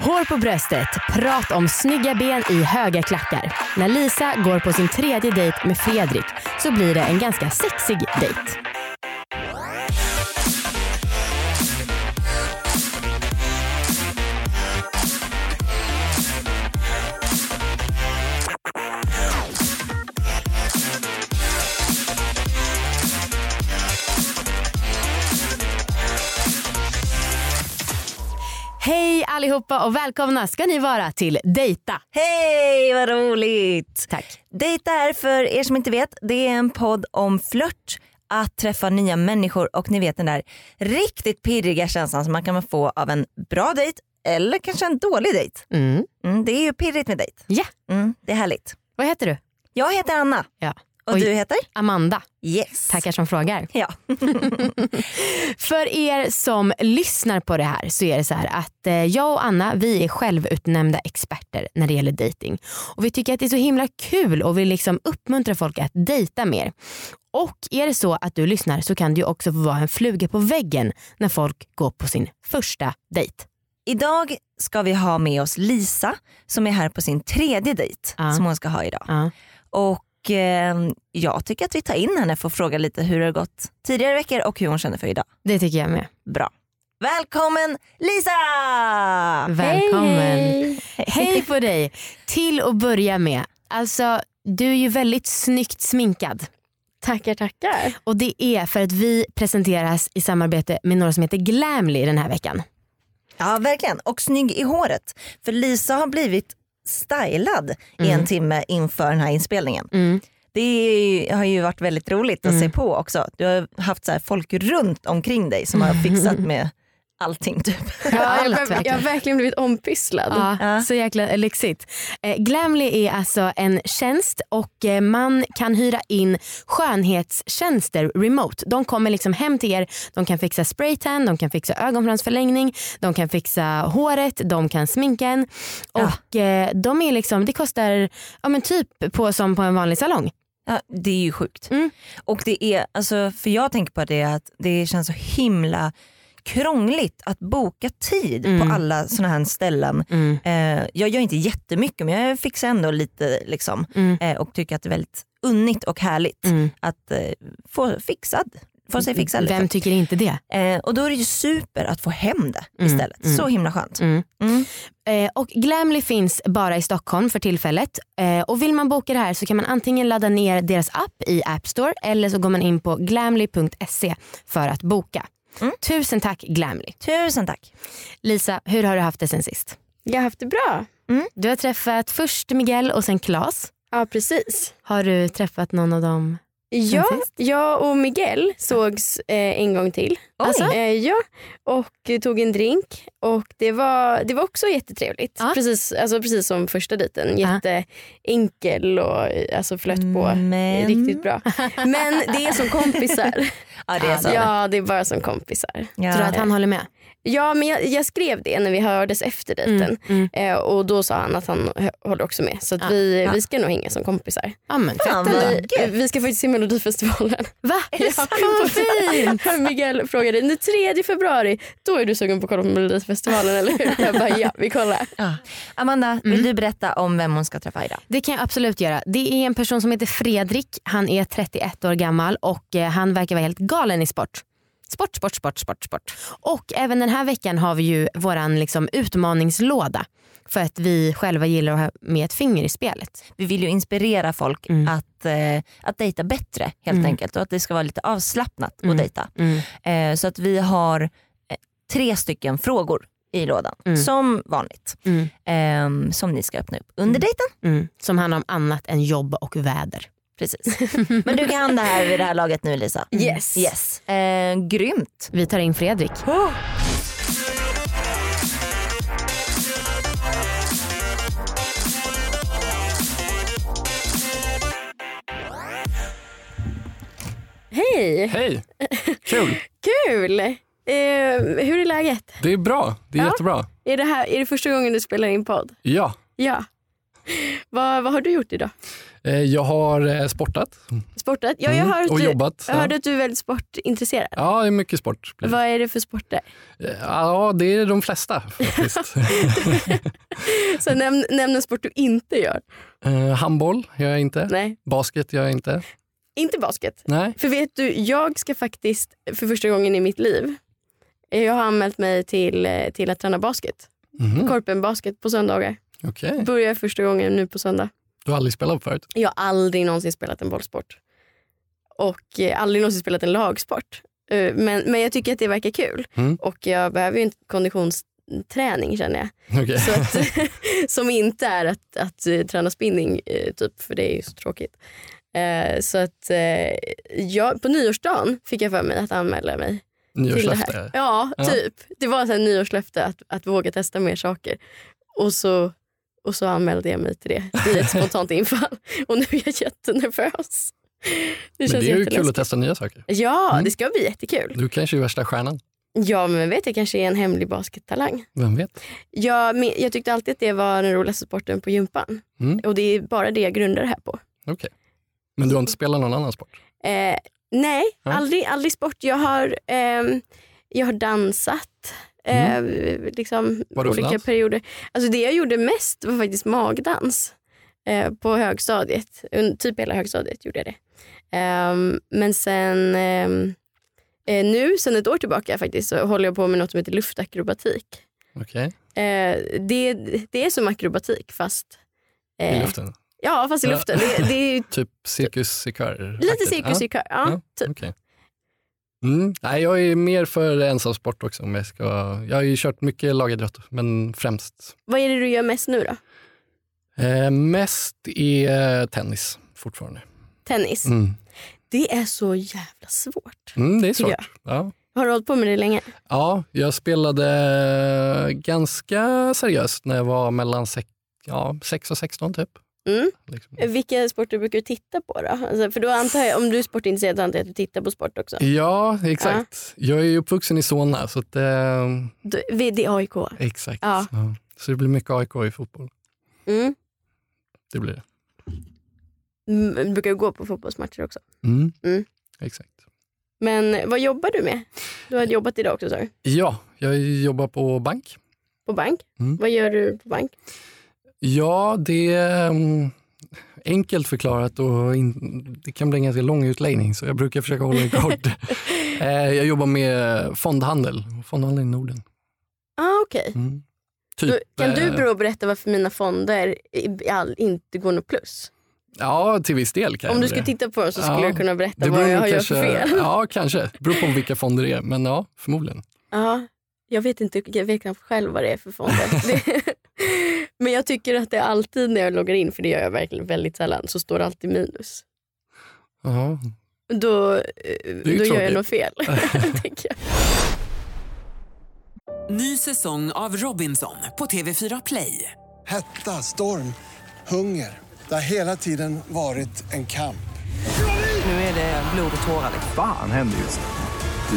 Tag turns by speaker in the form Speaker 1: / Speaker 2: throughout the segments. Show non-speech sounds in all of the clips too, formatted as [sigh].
Speaker 1: Hår på bröstet, prat om snygga ben i höga klackar. När Lisa går på sin tredje dejt med Fredrik så blir det en ganska sexig dejt. Hej allihopa och välkomna ska ni vara till Dejta.
Speaker 2: Hej vad roligt!
Speaker 1: Tack.
Speaker 2: Dejta är för er som inte vet, det är en podd om flört, att träffa nya människor och ni vet den där riktigt pirriga känslan som man kan få av en bra dejt eller kanske en dålig dejt.
Speaker 1: Mm.
Speaker 2: Mm, det är ju pirrigt med dejt.
Speaker 1: Ja,
Speaker 2: Mm, det är härligt.
Speaker 1: vad heter du?
Speaker 2: Jag heter Anna
Speaker 1: Ja.
Speaker 2: och
Speaker 1: Oj.
Speaker 2: du heter?
Speaker 1: Amanda.
Speaker 2: Yes.
Speaker 1: Tackar som frågar.
Speaker 2: [laughs] Ja.
Speaker 1: För er som lyssnar på det här så är det så här att eh, jag och Anna vi är självutnämnda experter när det gäller dating. Och Vi tycker att det är så himla kul och vill liksom uppmuntra folk att dejta mer. Och är det så att du lyssnar så kan du ju också få vara en fluga på väggen när folk går på sin första dejt.
Speaker 2: Idag ska vi ha med oss Lisa som är här på sin tredje dejt
Speaker 1: Ja.
Speaker 2: som hon ska ha idag.
Speaker 1: Ja.
Speaker 2: Och eh, jag tycker att vi tar in henne för att fråga lite hur det har gått tidigare veckor och hur hon känner för idag.
Speaker 1: Det tycker jag med.
Speaker 2: Bra. Välkommen Lisa!
Speaker 1: Välkommen.
Speaker 3: [laughs]
Speaker 1: Hej på dig. Till att börja med, alltså du är ju väldigt snyggt sminkad.
Speaker 3: Tackar, tackar.
Speaker 1: Och det är för att vi presenteras i samarbete med några som heter Glamly den här veckan.
Speaker 2: Ja verkligen och snygg i håret. För Lisa har blivit stylad i en timme inför den här inspelningen.
Speaker 1: Mm.
Speaker 2: Det är ju, har ju varit väldigt roligt att se på också. Du har haft så här folk runt omkring dig som har fixat med allting typ.
Speaker 1: Allt
Speaker 3: jag,
Speaker 1: verkligen.
Speaker 3: har- jag har verkligen blivit ompysslad.
Speaker 1: Ja,
Speaker 2: Ja.
Speaker 1: Så jäkla lyxigt. Eh, Glamly är alltså en tjänst och eh, man kan hyra in skönhetstjänster remote. De kommer liksom hem till er. De kan fixa spraytan, de kan fixa ögonfransförlängning, de kan fixa håret, de kan sminka en. Och eh, de är liksom, det kostar ja, men typ på, som på en vanlig salong.
Speaker 2: Ja, det är ju sjukt.
Speaker 1: Mm.
Speaker 2: Och det är, alltså, för jag tänker på det att det känns så himla krångligt att boka tid på alla sådana här ställen. Eh, jag gör inte jättemycket men jag fixar ändå lite liksom, eh, och tycker att det är väldigt unnigt och härligt att eh, få, fixad, få sig fixad. Liksom.
Speaker 1: Mm. Vem tycker inte det?
Speaker 2: Eh, och då är det ju super att få hem det istället. Så himla skönt.
Speaker 1: Mm.
Speaker 2: Mm.
Speaker 1: Eh, och Glamly finns bara i Stockholm för tillfället. Eh, och Vill man boka det här så kan man antingen ladda ner deras app i App Store eller så går man in på glamly.se för att boka. Tusen tack Glamly.
Speaker 2: Tusen tack.
Speaker 1: Lisa, hur har du haft det sen sist?
Speaker 3: Jag har haft det bra.
Speaker 1: Du har träffat först Miguel och sen Claes.
Speaker 3: Ja, precis.
Speaker 1: Har du träffat någon av dem?
Speaker 3: Ja,
Speaker 1: sist?
Speaker 3: jag och Miguel sågs eh, en gång till.
Speaker 1: Alltså?
Speaker 3: Eh, ja, och eh, tog en drink. Och det, var, det var också jättetrevligt.
Speaker 1: Ja.
Speaker 3: Precis, alltså, precis som första dejten.
Speaker 1: Ja.
Speaker 3: Jätteenkel och eh, alltså, flöt på.
Speaker 2: Men-
Speaker 3: Riktigt bra. Men det är som kompisar.
Speaker 2: Ja, det är så.
Speaker 3: ja, det är bara som kompisar.
Speaker 2: Ja.
Speaker 1: Tror du att han håller med?
Speaker 3: Ja men jag, jag skrev det när vi hördes efter
Speaker 1: Mm,
Speaker 3: dejten eh, och då sa han att han hö- håller också med så att vi, vi ska nog hänga som kompisar.
Speaker 1: Ja, men,
Speaker 2: Fan, vad
Speaker 3: Vi,
Speaker 2: gött.
Speaker 3: vi ska faktiskt se Melodifestivalen.
Speaker 1: Va? Är [laughs] det sant? Vad fint!
Speaker 3: [laughs] Miguel frågade den 3 februari, då är du sugen på att kolla på Melodifestivalen eller hur? Jag bara ja vi kollar.
Speaker 2: Ja. Amanda, vill du berätta om vem hon ska träffa idag?
Speaker 1: Det kan jag absolut göra. Det är en person som heter Fredrik. Han är 31 år gammal och eh, han verkar vara helt galen i sport. Sport, sport, sport, sport, sport. Och även den här veckan har vi ju våran liksom utmaningslåda. För att vi själva gillar att ha med ett finger i spelet.
Speaker 2: vi vill ju inspirera folk att, eh, att dejta bättre helt enkelt och att det ska vara lite avslappnat att dejta.
Speaker 4: Mm.
Speaker 2: Eh, så att vi har eh, tre stycken frågor i lådan som vanligt
Speaker 1: Mm.
Speaker 2: ehm, som ni ska öppna upp under dejten.
Speaker 1: Mm. Som handlar om annat än jobb och väder.
Speaker 2: [laughs] Precis. Men du kan det här vid det här laget nu Lisa.
Speaker 3: Yes.
Speaker 2: yes. Eh, grymt.
Speaker 1: Vi tar in Fredrik.
Speaker 3: Hej,
Speaker 5: Hej! Kul!
Speaker 3: kul! Eh, hur är läget?
Speaker 5: Det är bra. Det är
Speaker 3: Ja.
Speaker 5: jättebra.
Speaker 3: Är det, här, är det första gången du spelar in podd?
Speaker 5: Ja.
Speaker 3: Ja. Vad, vad har du gjort idag?
Speaker 5: Eh, Jag har eh, sportat
Speaker 3: Sportat? Ja, jag
Speaker 5: Mm,
Speaker 3: hörde att
Speaker 5: och
Speaker 3: du,
Speaker 5: jobbat. Mm.
Speaker 3: jag hörde att du är väldigt sportintresserad.
Speaker 5: Ja, det är mycket sport. blir det.
Speaker 3: Vad är det för sporter?
Speaker 5: Eh, Ja, det är de
Speaker 3: [laughs]
Speaker 5: flesta faktiskt.
Speaker 3: Så nämn, nämn en sport du inte gör.
Speaker 5: Eh, Handboll gör jag inte.
Speaker 3: Nej,
Speaker 5: Basket gör jag inte.
Speaker 3: inte basket.
Speaker 5: Nej.
Speaker 3: För vet du, jag ska faktiskt för första gången i mitt liv, eh, jag har anmält mig till, eh, till att träna basket.
Speaker 5: Mhm,
Speaker 3: Korpen basket på söndagar.
Speaker 5: Okej.
Speaker 3: Börjar första gången nu på söndag.
Speaker 5: Du har aldrig spelat förut?
Speaker 3: Jag har aldrig någonsin spelat en bollsport. Och eh, aldrig någonsin spelat en lagsport. Eh, Men, men jag tycker att det verkar kul.
Speaker 5: Mm.
Speaker 3: Och jag behöver ju en konditionsträning känner jag.
Speaker 5: Okej.
Speaker 3: Så att,
Speaker 5: [laughs]
Speaker 3: [laughs] som inte är att, att eh, träna spinning, eh, typ, för det är ju så tråkigt. Eh, så att eh, jag, på nyårsdagen fick jag för mig att anmäla mig till det här.
Speaker 5: Nyårslöfte.
Speaker 3: Ja,
Speaker 5: Ja.
Speaker 3: typ. Det var så här nyårslöfte att, att våga testa mer saker. Och så, och så anmälde jag mig till det i ett spontant infall. [laughs] Och nu är jag jättenervös. Det
Speaker 5: Men
Speaker 3: känns
Speaker 5: det är ju kul
Speaker 3: jätteläskigt.
Speaker 5: att testa nya saker.
Speaker 3: Ja,
Speaker 5: Mm.
Speaker 3: det ska bli jättekul.
Speaker 5: Du kanske är värsta stjärnan.
Speaker 3: Ja, men vet jag kanske är en hemlig baskettalang.
Speaker 5: Vem vet?
Speaker 3: Jag, men jag tyckte alltid att det var den roligaste sporten på gympan.
Speaker 5: Mm.
Speaker 3: Och det är bara det jag grundar det här på.
Speaker 5: Okej. Men du har
Speaker 3: Mm.
Speaker 5: inte spelat någon annan sport?
Speaker 3: Eh, nej,
Speaker 5: Ja.
Speaker 3: aldrig, aldrig sport. Jag har, ehm, jag har dansat. Eh, liksom,
Speaker 5: Vad då Mm. för
Speaker 3: olika
Speaker 5: dans?
Speaker 3: perioder. Alltså det jag gjorde mest var faktiskt magdans eh, på högstadiet. Un- Typ hela högstadiet gjorde jag det. Ehm, men sen ehm, eh, nu, sen ett år tillbaka faktiskt, så håller jag på med något som heter luftakrobatik.
Speaker 5: Okej.
Speaker 3: Eh, det, det är som akrobatik fast eh,
Speaker 5: I luften?
Speaker 3: Ja, fast i
Speaker 5: Ja.
Speaker 3: luften. Det, det [laughs] är ju
Speaker 5: Typ cirkus i kör?
Speaker 3: lite cirkus i kör. Ja,
Speaker 5: Ja,
Speaker 3: typ.
Speaker 5: Okej. Mm. Nej, jag är mer för ensamsport också. Om jag, ska... jag har ju kört mycket lagidrott, men främst.
Speaker 3: Vad är det du gör mest nu då?
Speaker 5: Eh, mest är tennis fortfarande.
Speaker 3: Tennis.
Speaker 5: Mm.
Speaker 3: Det är så jävla svårt.
Speaker 5: Mm, det är
Speaker 3: Tycker
Speaker 5: svårt. Ja.
Speaker 3: Har du hållit på med det länge?
Speaker 5: ja, jag spelade ganska seriöst när jag var mellan 6 ja, sex och 16 typ.
Speaker 3: Mm.
Speaker 5: Liksom.
Speaker 3: Vilka sporter brukar du titta på då? Alltså, för då antar jag, om du är sportintresserad så antar jag att du tittar på sport också.
Speaker 5: Ja, exakt. Jag är ju uppvuxen i Solna, så att, eh,
Speaker 3: Du, vi- det är AIK.
Speaker 5: exakt.
Speaker 3: Ja.
Speaker 5: Ja. Så det blir mycket AIK i fotboll.
Speaker 3: Mm.
Speaker 5: Det blir det.
Speaker 3: Mm, Du brukar ju gå på fotbollsmatcher också.
Speaker 5: Mm.
Speaker 3: Mm.
Speaker 5: Exakt.
Speaker 3: Men vad jobbar du med? Du har jobbat idag också sa du?
Speaker 5: Ja, jag jobbar på bank.
Speaker 3: På bank?
Speaker 5: Mm.
Speaker 3: Vad gör du på bank?
Speaker 5: Ja, det är mm, enkelt förklarat och in, det kan bli en ganska lång utläggning så jag brukar försöka hålla det
Speaker 3: [laughs]
Speaker 5: kort. Eh, jag jobbar med fondhandel, fondhandel i Norden.
Speaker 3: Ah, okej.
Speaker 5: Mm.
Speaker 3: Då- Kan du
Speaker 5: eh,
Speaker 3: bra berätta varför mina fonder i all, inte går något plus?
Speaker 5: Ja, till viss del kan
Speaker 3: Om
Speaker 5: jag
Speaker 3: du
Speaker 5: det.
Speaker 3: skulle titta på dem så skulle
Speaker 5: Ja.
Speaker 3: jag kunna berätta
Speaker 5: Det beror
Speaker 3: vad jag har
Speaker 5: nog
Speaker 3: gjort för
Speaker 5: kanske-
Speaker 3: fel.
Speaker 5: Ja, kanske. Det beror på vilka fonder det är, men ja, förmodligen.
Speaker 3: [laughs] Ja, jag vet inte, jag vet knappt själv vad det är för
Speaker 5: [laughs]
Speaker 3: fonder. Det- [laughs] Men jag tycker att det är alltid när jag loggar in, för det gör jag verkligen väldigt sällan, så står det alltid minus.
Speaker 5: Ja.
Speaker 3: Då, eh, då
Speaker 5: ju
Speaker 3: gör jag
Speaker 5: tråkigt.
Speaker 3: något
Speaker 5: [laughs]
Speaker 3: fel. [laughs] tänker jag.
Speaker 6: Ny säsong av Robinson på TV4 Play.
Speaker 7: Hetta, storm, hunger. Det har hela tiden varit en kamp.
Speaker 6: Nu är det blod och tårar. liksom.
Speaker 8: Fan händer just nu.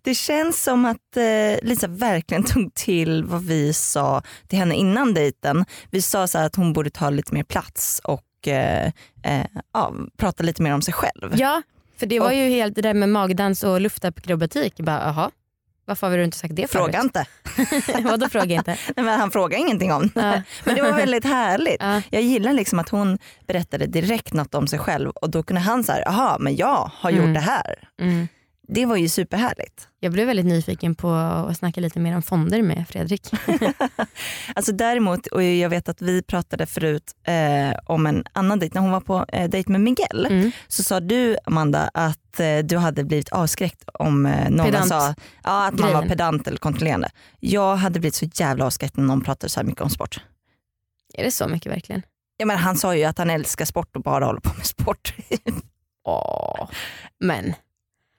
Speaker 2: Det känns som att eh, Lisa verkligen [laughs] tog till vad vi sa till henne innan dejten. Vi sa så här att hon borde ta lite mer plats och eh, eh, ja, prata lite mer om sig själv.
Speaker 1: Ja, För det var ju helt det där med magdans och luftakrobatik. Jag Bara, aha. Varför har du inte sagt det
Speaker 2: Fråga
Speaker 1: förut?
Speaker 2: inte.
Speaker 1: [laughs] Vadå fråga inte?
Speaker 2: Nej, men han frågade ingenting om det.
Speaker 1: Ja.
Speaker 2: [laughs] Men det var väldigt härligt.
Speaker 1: Ja.
Speaker 2: Jag gillar liksom att hon berättade direkt något om sig själv och då kunde han säga, jaha men jag har
Speaker 1: Mm.
Speaker 2: gjort det här.
Speaker 1: Mm.
Speaker 2: Det var ju superhärligt.
Speaker 1: Jag blev väldigt nyfiken på att snacka lite mer om fonder med
Speaker 2: [laughs]
Speaker 1: Fredrik.
Speaker 2: Alltså däremot, och jag vet att vi pratade förut eh, om en annan dejt, när hon var på eh, dejt med Miguel
Speaker 1: Mm.
Speaker 2: så sa du Amanda att eh, du hade blivit avskräckt om eh, någon
Speaker 1: Pedant.
Speaker 2: sa ja, att man var
Speaker 1: Grejen.
Speaker 2: pedant eller kontrollerande. Jag hade blivit så jävla avskräckt när någon pratade så här mycket om sport.
Speaker 1: Är det så mycket verkligen?
Speaker 2: Ja, men han sa ju att han älskar sport och bara håller på med sport. [laughs]
Speaker 1: Åh. Men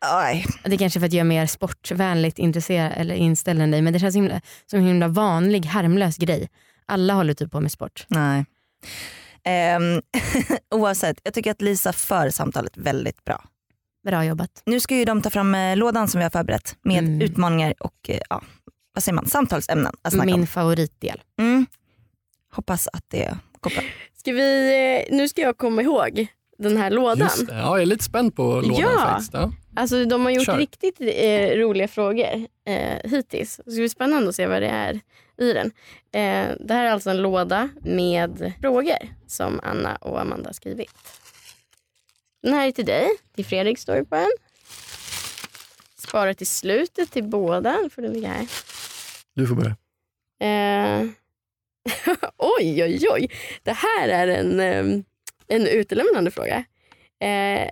Speaker 2: Aj.
Speaker 1: det är kanske för att jag är mer sportvänligt intresserad eller inställd än dig men det känns himla, som en himla vanlig harmlös grej. Alla håller typ på med sport.
Speaker 2: Nej. Ehm, [laughs] oavsett, jag tycker att Lisa för samtalet väldigt bra.
Speaker 1: Bra jobbat.
Speaker 2: Nu ska ju de ta fram eh, lådan som vi har förberett med
Speaker 1: Mm.
Speaker 2: utmaningar och eh, ja, vad säger man, samtalsämnen att snacka
Speaker 1: Min
Speaker 2: om.
Speaker 1: favoritdel.
Speaker 2: Mm. Hoppas att det går bra.
Speaker 3: Ska vi, eh, nu ska jag komma ihåg den här lådan.
Speaker 5: Just det. Ja, jag är lite spänd på lådan
Speaker 3: Ja.
Speaker 5: faktiskt. Ja.
Speaker 3: Alltså, de har gjort
Speaker 5: Kör.
Speaker 3: riktigt eh, roliga frågor eh, hittills. Så det ska bli spännande att se vad det är i den. Eh, det här är alltså en låda med frågor som Anna och Amanda har skrivit. Den här är till dig. Till Fredrik står det på den. Spara till slutet till båda. Då får du ligga här.
Speaker 5: Du får börja.
Speaker 3: Eh, [laughs] oj, oj, oj. Det här är en, eh, en utelämnande fråga. Eh,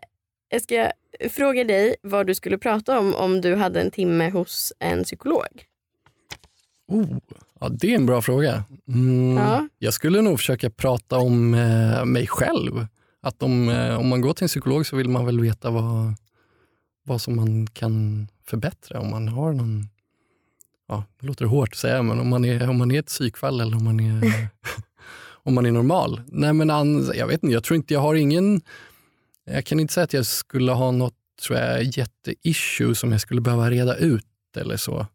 Speaker 3: jag ska fråga dig vad du skulle prata om om du hade en timme hos en psykolog.
Speaker 5: Oh. Ja, det är en bra fråga. Mm,
Speaker 3: Ja.
Speaker 5: Jag skulle nog försöka prata om eh, mig själv. Att om, eh, om man går till en psykolog så vill man väl veta vad, vad som man kan förbättra. Om man har någon, ja, det låter hårt att säga, men om man är, om man är ett psykfall eller om man är, om man är normal. Nej, men an, jag vet inte, jag tror inte, jag har ingen, jag kan inte säga att jag skulle ha något tror jag, jätteissue som jag skulle behöva reda ut eller så.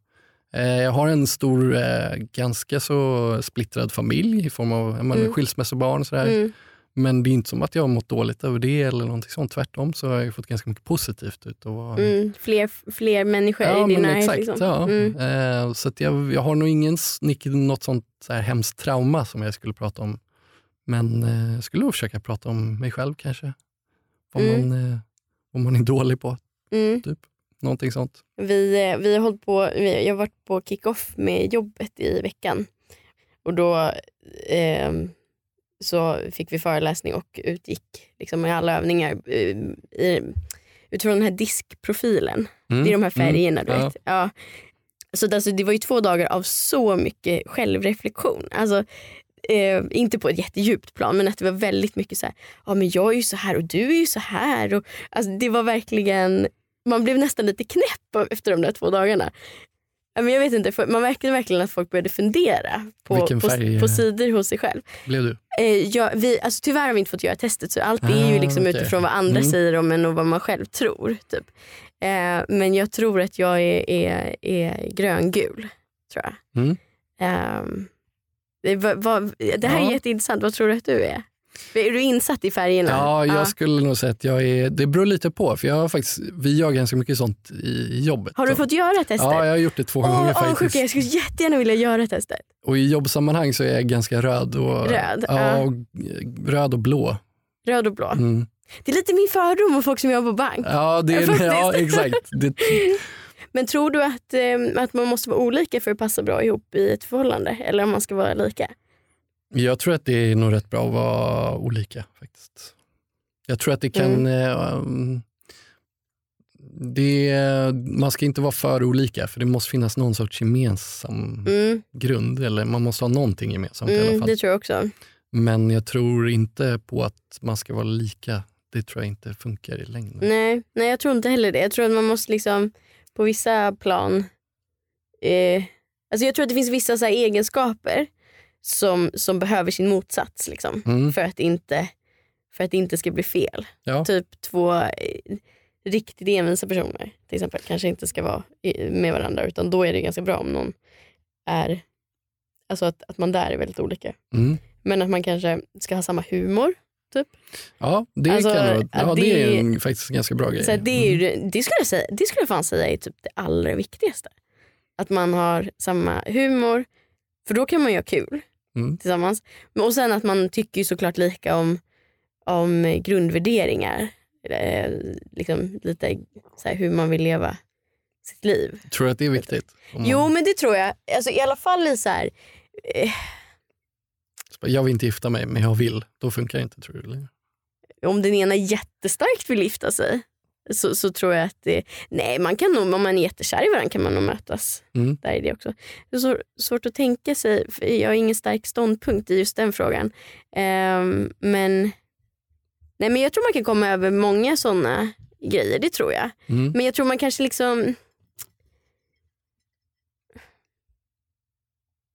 Speaker 5: Eh, Jag har en stor, eh, ganska så splittrad familj i form av man,
Speaker 3: Mm.
Speaker 5: skilsmässobarn och sådär.
Speaker 3: Mm.
Speaker 5: Men det är inte som att jag har mått dåligt över det eller någonting sånt. Tvärtom så har jag ju fått ganska mycket positivt ut. Och,
Speaker 3: Mm. Fler, fler människor
Speaker 5: Ja,
Speaker 3: i
Speaker 5: men
Speaker 3: din närhet.
Speaker 5: exakt.
Speaker 3: Liksom.
Speaker 5: Ja.
Speaker 3: Mm.
Speaker 5: Eh, Så att jag, jag har nog ingen, s- nick- något sånt så här hemskt trauma som jag skulle prata om. Men eh, jag skulle nog försöka prata om mig själv kanske. Vad
Speaker 3: Mm.
Speaker 5: man, eh, vad man är dålig på,
Speaker 3: Mm.
Speaker 5: typ. Någonting sånt.
Speaker 3: Vi, eh, vi har hållit på, vi, jag har varit på kick-off med jobbet i veckan. Och då ehm, så fick vi föreläsning och utgick liksom, med alla övningar eh, i, utifrån den här diskprofilen. Det är de här färgerna du
Speaker 5: Mm. Ja.
Speaker 3: vet. Ja. Så det- alltså, det var ju två dagar av så mycket självreflektion. Alltså, eh, inte på ett jättedjupt plan men att det var väldigt mycket så här, ja men jag är ju så här och du är ju så här. Och, alltså, det var verkligen, man blev nästan lite knäpp av- efter de där två dagarna. Ja, Men jag vet inte, för man märkte verkligen att folk började fundera på,
Speaker 5: Vilken
Speaker 3: på,
Speaker 5: färg,
Speaker 3: på
Speaker 5: eh,
Speaker 3: sidor hos sig själv.
Speaker 5: Blev du?
Speaker 3: Eh, ja, vi, alltså, tyvärr har vi inte fått göra testet så allt är ju
Speaker 5: Ah,
Speaker 3: liksom
Speaker 5: okej.
Speaker 3: utifrån vad andra
Speaker 5: Mm.
Speaker 3: säger om en och vad man själv tror. Typ. Eh, men jag tror att jag är, är, är gröngul. Tror jag.
Speaker 5: Mm.
Speaker 3: Ehm, det, va, va, det här är
Speaker 5: Ja.
Speaker 3: jätteintressant. Vad tror du att du är? Är du insatt i färgerna?
Speaker 5: Ja, jag skulle nog säga att jag är, det beror lite på. För jag har faktiskt, vi gör ganska mycket sånt i i jobbet.
Speaker 3: Har du
Speaker 5: Så-
Speaker 3: fått göra testet?
Speaker 5: Ja, jag har gjort det två gånger
Speaker 3: Åh,
Speaker 5: faktiskt.
Speaker 3: avundsjuka. Jag skulle jättegärna vilja göra testet.
Speaker 5: Och i jobbsammanhang så är jag ganska röd och,
Speaker 3: Röd, ja.
Speaker 5: ja, och eh, röd och blå.
Speaker 3: Röd och blå.
Speaker 5: Mm.
Speaker 3: Det är lite min fördom om folk som jobbar på bank.
Speaker 5: Ja, det
Speaker 3: Faktiskt.
Speaker 5: är, ja, exakt. Det,
Speaker 3: Men tror du att, eh, att man måste vara olika för att passa bra ihop i ett förhållande? Eller om man ska vara lika?
Speaker 5: jag tror att det är nog rätt bra att vara olika faktiskt. Jag tror att det
Speaker 3: Mm.
Speaker 5: kan... eh, um, Det, man ska inte vara för olika för det måste finnas någon sorts gemensam
Speaker 3: Mm.
Speaker 5: grund. Eller man måste ha någonting gemensamt i alla
Speaker 3: Mm,
Speaker 5: fall.
Speaker 3: det tror jag också.
Speaker 5: Men jag tror inte på att man ska vara lika. Det tror jag inte funkar i längden.
Speaker 3: Nej, nej, jag tror inte heller det. Jag tror att man måste liksom på vissa plan... Eh, alltså jag tror att det finns vissa så här egenskaper som, som behöver sin motsats liksom,
Speaker 5: Mm.
Speaker 3: för, att inte, för att det inte ska bli fel.
Speaker 5: Ja.
Speaker 3: Typ två eh, riktigt envisa personer till exempel kanske inte ska vara i, med varandra utan då är det ganska bra om någon är... Alltså att, att man där är väldigt olika.
Speaker 5: Mm.
Speaker 3: Men att man kanske ska ha samma humor. Typ.
Speaker 5: Ja, det
Speaker 3: Alltså,
Speaker 5: kan det vara. Ja,
Speaker 3: att
Speaker 5: det, är
Speaker 3: det-
Speaker 5: en, faktiskt en ganska bra grej. Mm.
Speaker 3: Så här, det, är ju, det, skulle jag säga, det skulle jag fan säga är typ det allra viktigaste. Att man har samma humor, för då kan man göra kul
Speaker 5: Mm.
Speaker 3: tillsammans. Men- Och sen att man tycker ju såklart lika om, om grundvärderingar. Eh, liksom lite så här, hur man vill leva sitt liv.
Speaker 5: Tror du att det är viktigt? Om man-
Speaker 3: Jo men det tror jag. Alltså, I alla fall i så här, eh,
Speaker 5: Jag vill inte gifta mig, men jag vill. Då funkar det inte, tror du? Eller?
Speaker 3: om den ena jättestarkt vill gifta sig så, så tror jag att det... Nej, man kan nog, om man är jättekär i varandra kan man nog mötas.
Speaker 5: Mm.
Speaker 3: Där är det också. Det är så, svårt att tänka sig, för jag har ingen stark ståndpunkt i just den frågan. Ehm, men, nej, men jag tror man kan komma över många sådana grejer, det tror jag.
Speaker 5: Mm.
Speaker 3: Men jag tror man kanske liksom...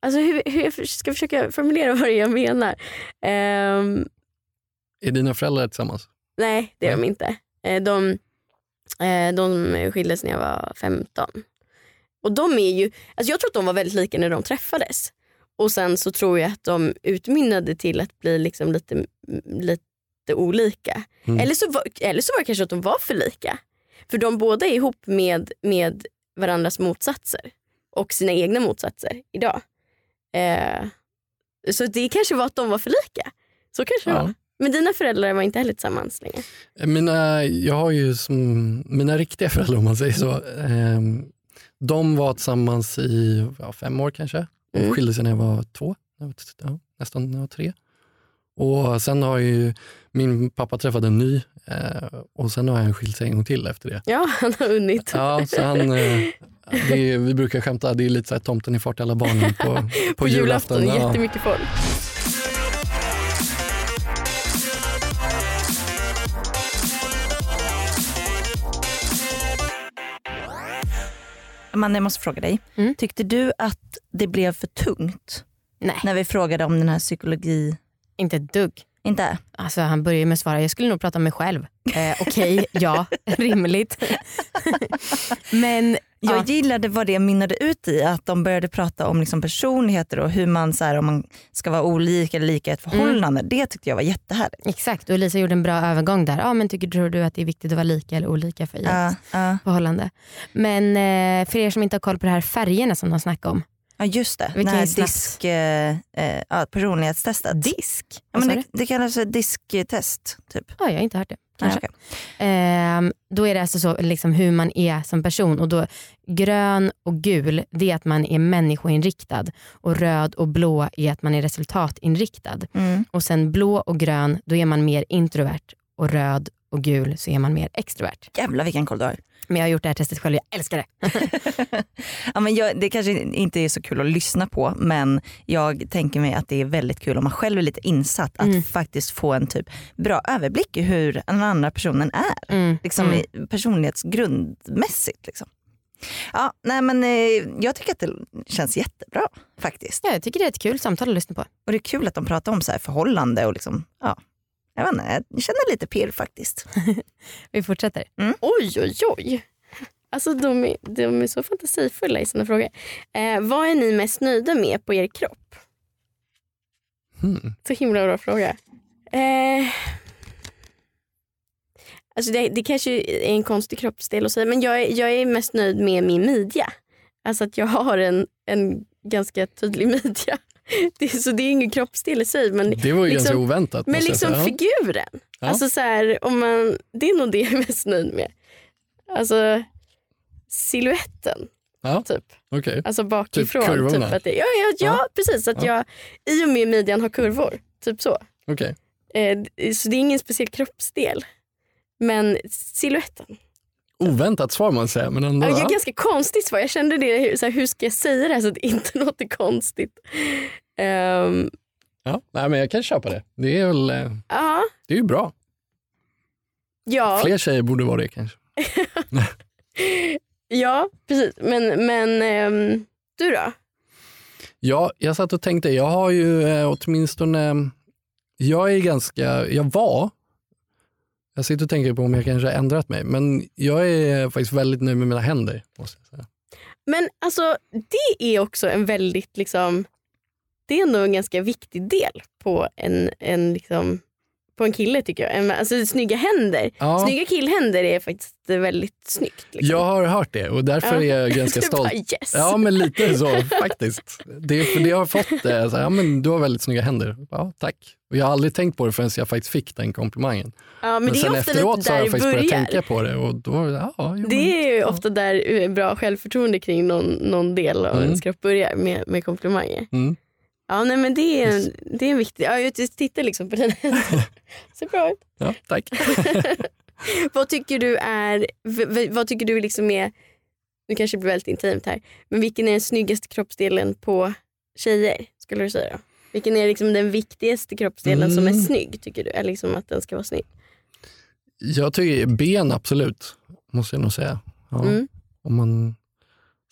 Speaker 3: Alltså hur, hur jag ska försöka formulera [laughs] vad det är jag menar. Ehm,
Speaker 5: Är dina föräldrar tillsammans?
Speaker 3: Nej, det är
Speaker 5: Nej.
Speaker 3: de inte. Eh, De, eh, de skildes när jag var 15. Och de är ju, alltså jag tror att de var väldigt lika när de träffades. Och sen så tror jag att de utmynnade till att bli liksom lite, lite olika.
Speaker 5: Mm.
Speaker 3: Eller, så var, eller så var det kanske att de var för lika. För de båda är ihop med, med varandras motsatser och sina egna motsatser idag. Eh, så det kanske var att de var för lika. Så kanske det
Speaker 5: Ja.
Speaker 3: var. Men dina föräldrar var inte heller tillsammans länge.
Speaker 5: Eh, Mina, jag har ju som, mina riktiga föräldrar, om man säger så, ehm, de var tillsammans i ja, fem år kanske. De
Speaker 3: Mm.
Speaker 5: skilde sig när jag var två, när jag var t- ja, nästan när jag var tre. Och sen har ju min pappa träffat en ny eh, och sen har han skilt sig en gång till efter det.
Speaker 3: Ja, [laughs] han har hunnit.
Speaker 5: Ja, så han, eh, det är, vi brukar skämta, det är lite så här tomten i fart alla barnen på, på,
Speaker 3: [laughs] på julafton,
Speaker 5: Ja.
Speaker 3: jättemycket folk.
Speaker 2: Amanda, jag måste fråga dig.
Speaker 1: Mm.
Speaker 2: Tyckte du att det blev för tungt
Speaker 1: Nej,
Speaker 2: när vi frågade om den här psykologi...
Speaker 1: inte ett dugg.
Speaker 2: Inte?
Speaker 1: Alltså, han började med att svara, jag skulle nog prata om mig själv. Eh, Okej,
Speaker 2: [laughs]
Speaker 1: ja, rimligt. Men
Speaker 2: Jag
Speaker 1: Ja.
Speaker 2: gillade vad det mynnade ut i, att de började prata om liksom personligheter och hur man, så här, om man ska vara olika eller lika i
Speaker 1: Mm.
Speaker 2: ett förhållande. Det tyckte jag var jättehärligt.
Speaker 1: exakt, och Lisa gjorde en bra övergång där. Ja, men tycker tror du att det är viktigt att vara lika eller olika för i ett
Speaker 2: Ja, ja.
Speaker 1: förhållande? Men eh, för er som inte har koll på det här färgerna som de snackar om.
Speaker 2: ja just det,
Speaker 1: Vi
Speaker 2: den
Speaker 1: kan
Speaker 2: här
Speaker 1: ju snabbt-
Speaker 2: disk, eh, eh, ja, personlighetstestet. Disk? Ja,
Speaker 1: Vad
Speaker 2: men
Speaker 1: sa
Speaker 2: det,
Speaker 1: du?
Speaker 2: det kallas för disktest. Typ.
Speaker 1: Ja, jag har inte hört det.
Speaker 2: Nej,
Speaker 1: Kanske.
Speaker 2: okej.
Speaker 1: Ehm, då är det alltså så, liksom, hur man är som person. Och då, grön och gul det är att man är människoinriktad och röd och blå är att man är resultatinriktad.
Speaker 2: Mm.
Speaker 1: Och sen blå och grön då är man mer introvert och röd och gul så är man mer extrovert.
Speaker 2: Jävlar vilken koll du har.
Speaker 1: Men jag har gjort det här testet själv jag älskar det.
Speaker 2: ja, men jag, det kanske inte är så kul att lyssna på men jag tänker mig att det är väldigt kul om man själv är lite insatt att
Speaker 1: Mm.
Speaker 2: faktiskt få en typ bra överblick i hur den andra personen är. Liksom
Speaker 1: Mm.
Speaker 2: i personlighetsgrundmässigt. Liksom. Ja, nej, men, eh, jag tycker att det känns jättebra faktiskt.
Speaker 1: Ja, jag tycker det är ett kul samtal att lyssna på.
Speaker 2: Och det är kul att de pratar om så här förhållande och liksom, ja. Jag, vet inte, jag känner lite pirr faktiskt.
Speaker 1: Vi fortsätter.
Speaker 3: Oj, oj, oj. Alltså de är, de är så fantasifulla i sina frågor. Eh, vad är ni mest nöjda med på er kropp?
Speaker 5: Hmm.
Speaker 3: Så himla bra fråga. Eh, alltså det, det kanske är en konstig kroppsdel att säga men jag är, jag är mest nöjd med min midja. Alltså att jag har en, en ganska tydlig [laughs] midja. Det, är- så det är ingen kroppsdel i sig men
Speaker 5: Det var ju
Speaker 3: Liksom-
Speaker 5: ganska oväntat.
Speaker 3: Men
Speaker 5: måste jag
Speaker 3: liksom
Speaker 5: säga. Ja.
Speaker 3: figuren.
Speaker 5: Ja.
Speaker 3: Alltså så här, om man, det är nog det jag är mest nöjd med. Alltså siluetten,
Speaker 5: Ja.
Speaker 3: typ.
Speaker 5: Okej.
Speaker 3: Alltså bakifrån.
Speaker 5: Typ kurvorna.
Speaker 3: typ att det, ja, ja, ja,
Speaker 5: Ja.
Speaker 3: precis. Att
Speaker 5: Ja.
Speaker 3: jag i och med midjan har kurvor. Typ så.
Speaker 5: okej.
Speaker 3: Eh, d- så det är ingen speciell kroppsdel. Men siluetten.
Speaker 5: Oväntat svar man säger, men ändå.
Speaker 3: Ja, jag
Speaker 5: ja.
Speaker 3: är ganska konstigt svar. Jag kände det, hur- så här, hur ska jag säga det här så att det inte [laughs] låter konstigt? Ehm,
Speaker 5: Ja, nej, men jag kan köpa det. Det är, väl, eh,
Speaker 3: ja,
Speaker 5: det är ju bra.
Speaker 3: ja.
Speaker 5: Fler tjejer borde vara det kanske.
Speaker 3: Ja, precis. Men, men ehm, du då?
Speaker 5: Ja, jag satt och tänkte, jag har ju eh, åtminstone, eh, jag är ganska, jag var, jag sitter och tänker på om jag kanske har ändrat mig, men jag är faktiskt väldigt nöjd med mina händer. Måste jag säga.
Speaker 3: Men alltså det är också en väldigt liksom det är nog en ganska viktig del på en, en liksom på en kille tycker jag. Men Alltså snygga händer.
Speaker 5: Ja.
Speaker 3: Snygga killhänder är faktiskt väldigt snyggt. liksom.
Speaker 5: Jag har hört det och därför
Speaker 3: Ja. [laughs]
Speaker 5: är jag ganska
Speaker 3: Du
Speaker 5: stolt.
Speaker 3: bara, yes. [laughs]
Speaker 5: Ja, men lite så faktiskt. Det, för det har jag fått, eh, så här, ja, men du har väldigt snygga händer. Ja, tack. Och jag har aldrig tänkt på det förrän jag faktiskt fick den komplimangen.
Speaker 3: Ja, men,
Speaker 5: Men,
Speaker 3: det är
Speaker 5: sen
Speaker 3: ofta
Speaker 5: efteråt
Speaker 3: lite
Speaker 5: så har
Speaker 3: där
Speaker 5: jag
Speaker 3: det
Speaker 5: faktiskt börjat
Speaker 3: börjar.
Speaker 5: tänka på det och då, ja, jo, men-
Speaker 3: Det är ju ofta där eh, bra självförtroende kring någon, någon del av
Speaker 5: Mm.
Speaker 3: ens kropp börjar med, med komplimanger.
Speaker 5: Mm.
Speaker 3: Ja, nej, men det är en, det är en viktig... Ja, jag tittar liksom på dina
Speaker 5: [laughs]
Speaker 3: händer. Så bra ut.
Speaker 5: Ja, tack.
Speaker 3: [laughs] Vad tycker du är... v- v- Vad tycker du liksom är... Nu kanske det blir väldigt intimt här. Men vilken är den snyggaste kroppsdelen på tjejer? Skulle du säga då? Vilken är liksom den viktigaste kroppsdelen som är
Speaker 5: Mm.
Speaker 3: snygg? Tycker du? Eller liksom att den ska vara snygg?
Speaker 5: Jag tycker ben absolut, måste jag nog säga. Ja,
Speaker 3: Mm.
Speaker 5: om man...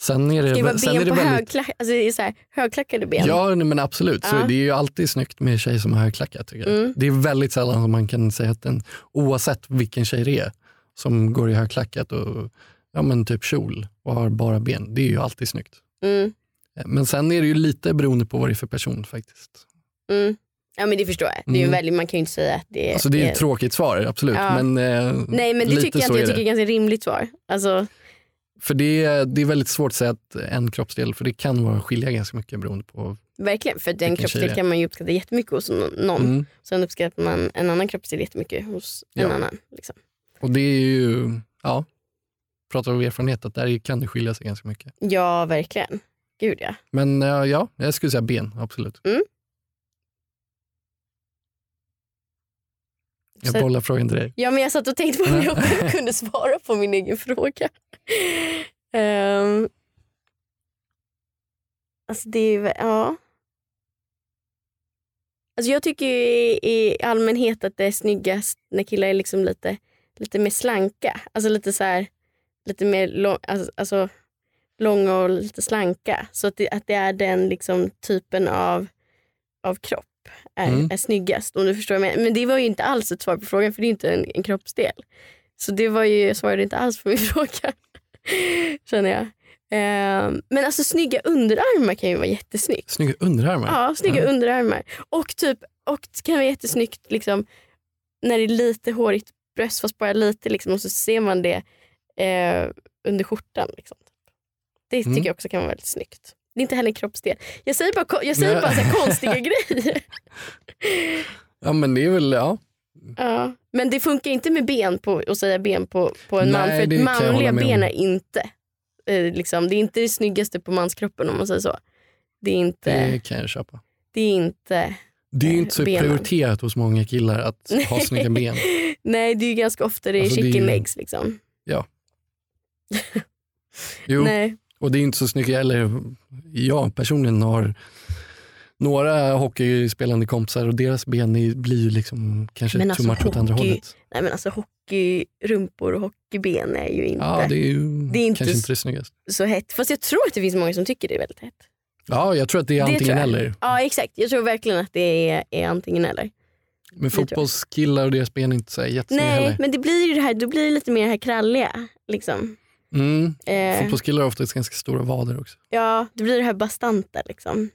Speaker 5: Sen är det,
Speaker 3: Ska det vara
Speaker 5: sen är
Speaker 3: ben
Speaker 5: det
Speaker 3: på
Speaker 5: väldigt...
Speaker 3: högklack, alltså det är så här, högklackade ben?
Speaker 5: Ja, nej, men absolut. Så
Speaker 3: Ja.
Speaker 5: det är ju alltid snyggt med tjejer som har högklackat. Tycker jag.
Speaker 3: Mm.
Speaker 5: Det är väldigt sällan som man kan säga att en, oavsett vilken tjej det är, som går i högklackat och ja, men typ kjol och har bara ben, det är ju alltid snyggt. Eh,
Speaker 3: Mm,
Speaker 5: Men sen är det ju lite beroende på vad det är för person faktiskt.
Speaker 3: mm. ja men det förstår jag. Det är ju
Speaker 5: Mm.
Speaker 3: väldigt, man kan ju inte säga att det är...
Speaker 5: Alltså det är ett tråkigt svar, absolut.
Speaker 3: Eh, Ja.
Speaker 5: Men, eh,
Speaker 3: Nej men det
Speaker 5: lite
Speaker 3: tycker jag
Speaker 5: så
Speaker 3: inte.
Speaker 5: är
Speaker 3: Jag
Speaker 5: det.
Speaker 3: tycker det är ett ganska rimligt svar. Alltså,
Speaker 5: För det är, det är väldigt svårt att säga att en kroppsdel, för det kan vara skilja ganska mycket beroende på.
Speaker 3: verkligen. För den
Speaker 5: Vilken tjej det
Speaker 3: kroppsdel
Speaker 5: är.
Speaker 3: kan man ju uppskatta jättemycket hos nå- någon.
Speaker 5: Mm.
Speaker 3: Sen uppskattar man en annan kroppsdel jättemycket hos en
Speaker 5: Ja.
Speaker 3: annan. Liksom.
Speaker 5: Och det är ju, ja, pratar av erfarenhet, att där kan det skilja sig ganska mycket.
Speaker 3: Ja verkligen. Gud ja.
Speaker 5: Men eh, ja, jag skulle säga ben, absolut.
Speaker 3: Mm.
Speaker 5: Jag
Speaker 3: Så-
Speaker 5: bollar frågan till dig.
Speaker 3: Ja men jag satt och tänkte på om
Speaker 5: Ja.
Speaker 3: jag själv [laughs] kunde svara på min egen fråga. Ehm. alltså det är vä- ja. Alltså jag tycker ju i, i allmänhet att det är snyggast när killar är liksom lite, lite mer slanka. Alltså lite så här, lite mer lång, alltså, alltså långa och lite slanka. Så att det, att det är den liksom typen av, av kropp är,
Speaker 5: Mm.
Speaker 3: är snyggast. Om du förstår vad jag menar. Men det var ju inte alls ett svar på frågan för det är inte en, en kroppsdel. Så det var ju, jag svarade inte alls på min [laughs] fråga. Känner jag. Ehm, men alltså snygga underarmar kan ju vara jättesnyggt.
Speaker 5: Snygga underarmar.
Speaker 3: Ja, snygga
Speaker 5: Ja. Mm.
Speaker 3: underarmar. Och typ, och det kan vara jättesnyggt liksom, när det är lite hårigt bröst fast bara lite liksom, och så ser man det eh, under skjortan. Liksom. Det tycker
Speaker 5: Mm.
Speaker 3: jag också kan vara väldigt snyggt. Det är inte heller en kroppsdel. Jag säger bara, ko- jag säger
Speaker 5: Nej.
Speaker 3: bara så här
Speaker 5: [laughs]
Speaker 3: konstiga grejer.
Speaker 5: ja, men det är väl, ja.
Speaker 3: Ja. Men det funkar inte med ben på, att säga ben på, på en man.
Speaker 5: Nej,
Speaker 3: För
Speaker 5: det
Speaker 3: att
Speaker 5: kan jag
Speaker 3: manliga
Speaker 5: hålla med om.
Speaker 3: ben är inte, eh, liksom, det är inte det snyggaste på manskroppen om man säger så. Det är inte,
Speaker 5: Det kan jag köpa.
Speaker 3: det är inte
Speaker 5: Det är ju inte så
Speaker 3: Benen.
Speaker 5: prioriterat hos många killar att
Speaker 3: [laughs]
Speaker 5: ha
Speaker 3: Nej.
Speaker 5: snygga ben.
Speaker 3: Nej, det är ju ganska ofta det är
Speaker 5: Alltså, det är
Speaker 3: chicken
Speaker 5: ju-
Speaker 3: legs. Liksom.
Speaker 5: Jo,
Speaker 3: Nej.
Speaker 5: och det är inte så snyggt heller. Jag personligen har några hockeyspelande kompisar och deras ben är- blir ju liksom kanske
Speaker 3: Men
Speaker 5: too
Speaker 3: alltså,
Speaker 5: much åt andra
Speaker 3: hockey-
Speaker 5: hållet.
Speaker 3: Nej, men alltså hockeyrumpor och hockeyben är ju inte
Speaker 5: Ja, det är ju
Speaker 3: Det är inte
Speaker 5: kanske
Speaker 3: s-
Speaker 5: inte det snyggaste.
Speaker 3: så hett. Fast jag tror att det finns många som tycker det är väldigt hett.
Speaker 5: Ja, jag tror att det är antingen
Speaker 3: tror jag.
Speaker 5: eller.
Speaker 3: Ja, exakt. Jag tror verkligen att det är, är antingen eller.
Speaker 5: Men
Speaker 3: tror jag.
Speaker 5: fotbollskillar och deras ben är inte så här jättesnygga
Speaker 3: Nej,
Speaker 5: heller.
Speaker 3: men det blir ju det här, då blir det lite mer det här kralliga. Liksom.
Speaker 5: Mm.
Speaker 3: Eh,
Speaker 5: Fotbollskillar har ofta ganska stora vader också.
Speaker 3: ja, det blir det här bastanta. Liksom.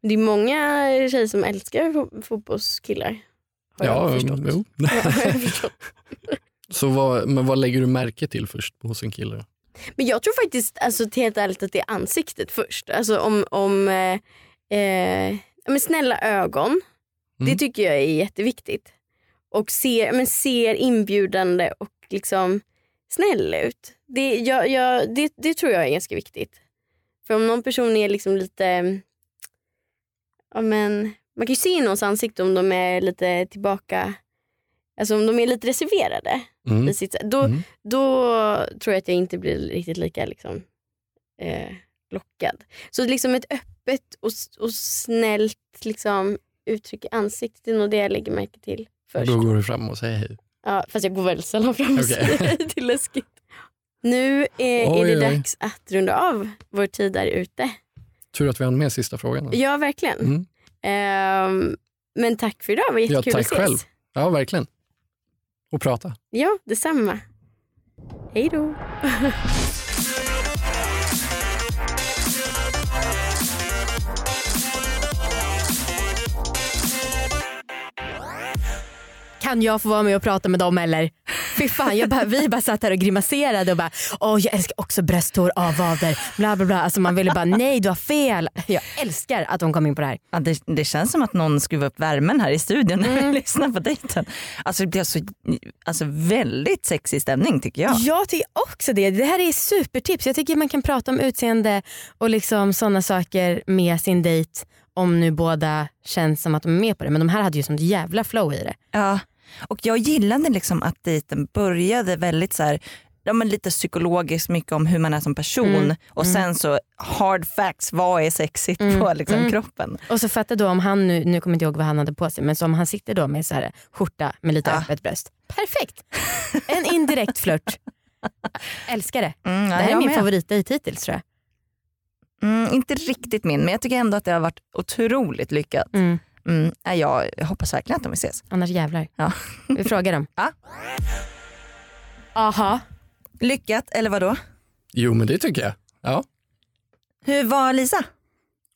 Speaker 3: Men det är många tjejer som älskar fo- fotbollskillar. Har jag
Speaker 5: Ja,
Speaker 3: förstått.
Speaker 5: [laughs] jo.
Speaker 3: Ja, har jag förstått.
Speaker 5: så vad, men vad lägger du märke till först hos en kille? då?
Speaker 3: Men jag tror faktiskt alltså, till helt ärligt att det är ansiktet först. Alltså om, om eh, eh, ja, men snälla ögon. Det
Speaker 5: Mm.
Speaker 3: tycker jag är jätteviktigt. Och ser, ja, men ser inbjudande och liksom snäll ut. Det, jag, jag, det, det tror jag är ganska viktigt. För om någon person är liksom lite... Ja men, man kan ju se i någons ansikte om de är lite tillbaka... Alltså om de är lite reserverade. I
Speaker 5: Mm.
Speaker 3: sitt, då,
Speaker 5: Mm.
Speaker 3: då tror jag att jag inte blir riktigt lika liksom, eh, lockad. Så liksom ett öppet och, s- och snällt liksom, uttryck i ansiktet är nog det jag lägger märke till först.
Speaker 5: Då går du fram och säger hej.
Speaker 3: Ja, fast jag går väldigt sällan fram och
Speaker 5: Okej.
Speaker 3: säger [laughs] det är läskigt. Nu eh, är, är
Speaker 5: Oj,
Speaker 3: det
Speaker 5: oj.
Speaker 3: dags att runda av vår tid där ute.
Speaker 5: Tur att vi hann med sista frågan. då.
Speaker 3: Ja, verkligen.
Speaker 5: Mm.
Speaker 3: Ehm, men tack för idag, det var
Speaker 5: Ja,
Speaker 3: jättekul
Speaker 5: tack
Speaker 3: att ses.
Speaker 5: själv. Ja, verkligen. Och prata.
Speaker 3: Ja, detsamma. Hej då.
Speaker 1: kan jag få vara med och prata med dem eller? Fy fan, jag bara, vi bara satt här och grimaserade och bara, åh jag älskar också brösthår, avvader, bla bla bla. Alltså man ville bara, nej du har fel. Jag älskar att de kom in på det här.
Speaker 2: Ja, det, det känns som att någon skruvar upp värmen här i studion när vi lyssnar på dejten. Alltså det blir så, alltså väldigt sexig stämning tycker jag.
Speaker 1: Jag tycker också det. Det här är supertips. Jag tycker man kan prata om utseende och liksom sådana saker med sin dejt om nu båda känns som att de är med på det. Men de här hade ju sånt jävla flow i det.
Speaker 2: Ja. Och jag gillade liksom att dejten började väldigt så här, ja, men lite psykologiskt mycket om hur man är som person
Speaker 1: Mm.
Speaker 2: och
Speaker 1: Mm.
Speaker 2: sen så hard facts, vad är sexigt
Speaker 1: Mm.
Speaker 2: på liksom,
Speaker 1: Mm.
Speaker 2: kroppen?
Speaker 1: Och så fatta då om han nu, nu kommer jag inte ihåg vad han hade på sig, men så om han sitter då med så här skjorta med lite
Speaker 2: Ja.
Speaker 1: öppet bröst. Perfekt! En indirekt
Speaker 2: [laughs]
Speaker 1: flört. Älskar det.
Speaker 2: Mm, ja,
Speaker 1: Det här är
Speaker 2: jag
Speaker 1: min
Speaker 2: med.
Speaker 1: favoritdejt hittills tror jag.
Speaker 2: Mm, inte riktigt min men jag tycker ändå att det har varit otroligt lyckat.
Speaker 1: Mm.
Speaker 2: Mm, nej, jag, jag hoppas verkligen att de vill ses.
Speaker 1: Annars jävlar.
Speaker 2: Ja.
Speaker 1: [laughs] Vi frågar dem.
Speaker 2: Ja.
Speaker 1: Aha.
Speaker 2: Lyckat eller vadå?
Speaker 5: Jo, men det tycker jag. Ja,
Speaker 2: Hur var Lisa?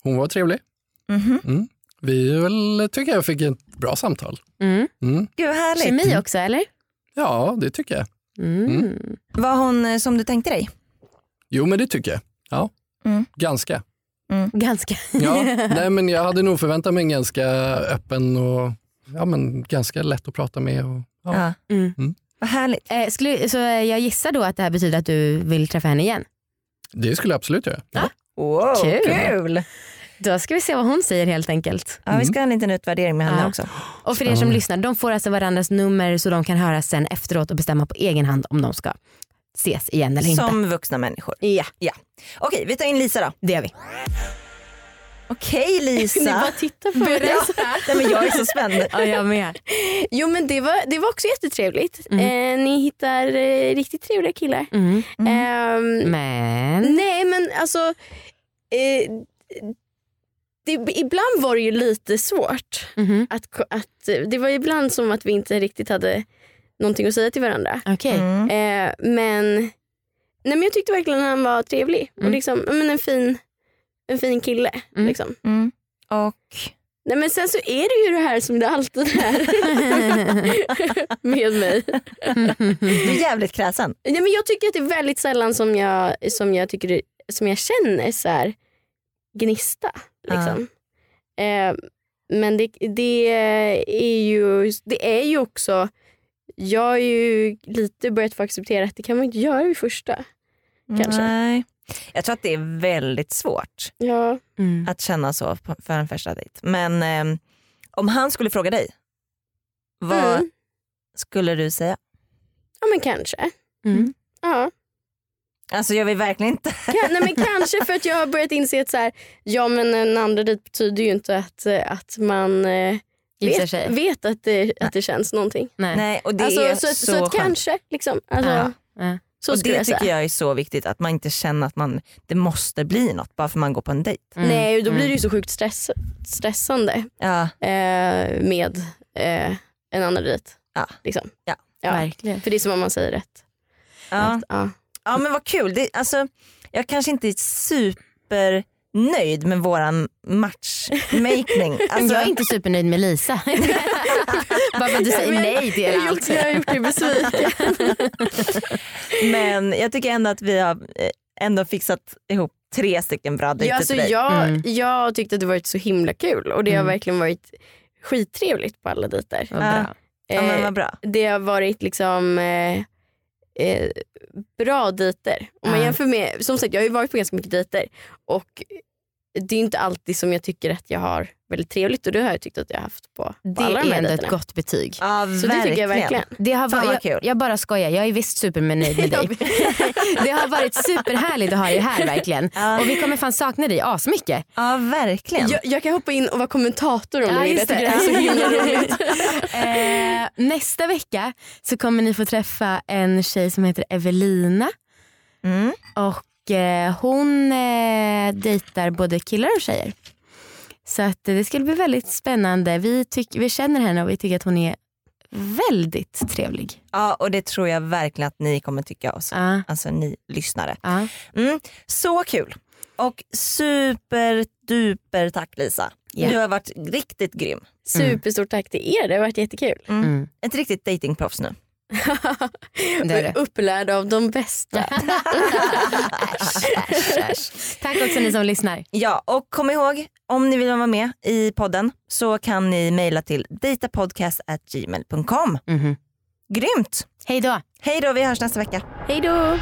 Speaker 5: hon var trevlig. Mm.
Speaker 2: Mhm.
Speaker 5: Vi väl, tycker jag fick ett bra samtal.
Speaker 1: Mm.
Speaker 5: Mm.
Speaker 2: Gud vad härligt.
Speaker 1: Kemi också eller?
Speaker 5: Ja, det tycker jag.
Speaker 1: Mm.
Speaker 2: Var hon eh, som du tänkte dig?
Speaker 5: Jo, men det tycker jag. Ja,
Speaker 2: Mm.
Speaker 5: ganska.
Speaker 1: Ganska.
Speaker 3: [laughs]
Speaker 5: Ja, nej, men jag hade nog förväntat mig en ganska öppen och ja, men ganska lätt att prata med. Och, ja.
Speaker 2: Ja.
Speaker 1: Mm.
Speaker 5: Mm.
Speaker 2: Vad härligt.
Speaker 1: Eh, skulle, så eh, jag gissar då att det här betyder att du vill träffa henne igen?
Speaker 5: Det skulle jag absolut göra. Ja.
Speaker 2: Wow,
Speaker 1: Kul.
Speaker 2: kul.
Speaker 1: Då ska vi se vad hon säger helt enkelt.
Speaker 2: Ja, vi ska ha en liten utvärdering med henne
Speaker 1: Ja.
Speaker 2: också.
Speaker 1: Och för er som lyssnar, de får alltså varandras nummer så de kan höra sen efteråt och bestämma på egen hand om de ska ses igen eller inte.
Speaker 2: Som vuxna människor.
Speaker 1: Ja,
Speaker 2: Okej, vi tar in Lisa då.
Speaker 1: det gör vi.
Speaker 2: Okej
Speaker 3: Ni
Speaker 2: Lisa.
Speaker 3: bara tittar på mig. [laughs]
Speaker 2: Ja. Nej, men jag är så spänd.
Speaker 1: Ja, jag med.
Speaker 3: Jo men det var, det var också jättetrevligt. Eh, ni hittar eh, riktigt trevliga killar.
Speaker 1: Mm.
Speaker 3: Ehm,
Speaker 1: Men,
Speaker 3: Nej men alltså, eh, det, ibland var det ju lite svårt.
Speaker 1: Mhm.
Speaker 3: Att, ko- att, eh, det var ibland som att vi inte riktigt hade någonting att säga till varandra.
Speaker 1: okej.
Speaker 2: Mm.
Speaker 3: Eh, men, nej, men jag tyckte verkligen att han var trevlig
Speaker 1: Mm.
Speaker 3: och liksom, ja, men en, fin, en fin kille.
Speaker 1: Mm.
Speaker 3: Liksom.
Speaker 2: Mm. Och
Speaker 3: Nej, men sen så är det ju det här som det alltid är
Speaker 1: [laughs] Mm.
Speaker 3: med mig. Mm.
Speaker 2: du är jävligt kräsen.
Speaker 3: Nej, men jag tycker att det är väldigt sällan som jag, som jag, tycker, det- som jag känner så här, gnista. Liksom. Eh, men det, det, är ju, det är ju också... Jag har ju lite börjat få acceptera att det kan man inte göra vid första. Kanske.
Speaker 2: Nej. Jag tror att det är väldigt svårt
Speaker 3: Ja.
Speaker 1: Mm.
Speaker 2: att känna så på- för en första dejt. Men ehm, om han skulle fråga dig, vad
Speaker 3: Mm.
Speaker 2: skulle du säga?
Speaker 3: ja, men kanske.
Speaker 1: Mm.
Speaker 3: Ja.
Speaker 2: Alltså jag vill verkligen inte.
Speaker 3: Kan, nej, men kanske för att jag har börjat inse att så här, ja, men en andra dejt betyder ju inte att, eh, att man eh,
Speaker 1: Gissar
Speaker 3: vet,
Speaker 1: sig.
Speaker 3: vet att, det, att det känns någonting.
Speaker 1: Nej.
Speaker 2: [laughs] Nej, och det
Speaker 3: alltså,
Speaker 2: är
Speaker 3: så,
Speaker 2: så,
Speaker 3: att- så att
Speaker 2: skönt.
Speaker 3: kanske. Liksom. Alltså,
Speaker 1: Ja, ja.
Speaker 3: Så
Speaker 2: och
Speaker 3: skulle
Speaker 2: det
Speaker 3: jag säga.
Speaker 2: tycker jag är så viktigt att man inte känner att man, det måste bli något bara för man går på en dejt.
Speaker 1: Mm.
Speaker 3: Nej, då blir
Speaker 1: Mm.
Speaker 3: det ju så sjukt stress, stressande
Speaker 2: Ja,
Speaker 3: eh, med eh, en annan dejt.
Speaker 2: Ja.
Speaker 3: Liksom.
Speaker 2: Ja.
Speaker 1: Verkligen.
Speaker 3: För det är som om man säger rätt.
Speaker 2: ja.
Speaker 3: Att, ja.
Speaker 2: ja men vad kul. Det, alltså, jag kanske inte är supernöjd med våran
Speaker 3: [laughs]
Speaker 2: matchmaking.
Speaker 1: Men
Speaker 2: Alltså,
Speaker 1: jag är inte supernöjd med [laughs] Lisa. Bara för att du säger
Speaker 3: Men-
Speaker 1: nej till
Speaker 3: Jag har
Speaker 1: allt.
Speaker 3: gjort, jag har gjort
Speaker 2: [laughs]
Speaker 3: dig besviken.
Speaker 2: Men jag tycker ändå att vi har eh, ändå fixat ihop tre stycken bra dejter
Speaker 3: ja, alltså,
Speaker 2: till dig.
Speaker 3: jag,
Speaker 1: Mm.
Speaker 3: jag tyckte att det varit så himla kul och det har
Speaker 1: Mm.
Speaker 3: verkligen varit skittrevligt på alla dejter.
Speaker 1: Vad bra.
Speaker 2: Ja, men
Speaker 3: Eh,
Speaker 2: vad bra.
Speaker 3: det har varit liksom eh, eh, bra dejter. Om man
Speaker 1: Ja.
Speaker 3: jämför med, som sagt jag har ju varit på ganska mycket dejter och det är inte alltid som jag tycker att jag har väldigt trevligt och det har jag tyckt att jag har haft på, på
Speaker 1: Det
Speaker 3: alla
Speaker 1: är
Speaker 3: de här
Speaker 1: ändå
Speaker 3: dejterna.
Speaker 1: ett gott betyg.
Speaker 2: Ja,
Speaker 3: Så det tycker jag verkligen.
Speaker 1: Det har
Speaker 2: Fan, vad
Speaker 1: varit,
Speaker 2: kul.
Speaker 1: jag, jag bara skojar, jag är visst
Speaker 3: [laughs]
Speaker 1: supernöjd med dig. [laughs] det har varit superhärligt att ha dig här verkligen.
Speaker 2: Ja.
Speaker 1: Och vi kommer fan sakna dig asmycket.
Speaker 2: Ja verkligen.
Speaker 3: Jag, jag kan hoppa in och vara kommentator om
Speaker 1: Ja,
Speaker 3: du vill.
Speaker 1: just Mm.
Speaker 3: Jag tycker det här är så himla
Speaker 1: [laughs]
Speaker 3: roligt.
Speaker 1: Eh, nästa vecka så kommer ni få träffa en tjej som heter Evelina.
Speaker 2: Mm.
Speaker 1: Och eh, hon eh, dejtar både killar och tjejer. Så att, eh, det skulle bli väldigt spännande. Vi, tyck, vi känner henne och vi tycker att hon är väldigt trevlig.
Speaker 2: Ja och det tror jag verkligen att ni kommer tycka också.
Speaker 1: Ja,
Speaker 2: Alltså ni lyssnare.
Speaker 1: ja.
Speaker 2: Mm. Så kul. Och superduper tack Lisa.
Speaker 1: Ja.
Speaker 2: Du har varit riktigt grym.
Speaker 3: Superstort tack till er, det har varit jättekul.
Speaker 1: Mm.
Speaker 2: Ett riktigt datingproffs nu.
Speaker 1: Det är det.
Speaker 3: Upplärd av de
Speaker 1: [laughs]
Speaker 3: bästa.
Speaker 1: Tack också ni som lyssnar.
Speaker 2: Ja, och kom ihåg om ni vill vara med i podden så kan ni mejla till datapodcast.gmail.com.
Speaker 1: Mhm.
Speaker 2: Grymt!
Speaker 1: Hej då.
Speaker 2: Hej då, vi hörs nästa vecka.
Speaker 3: Hej då!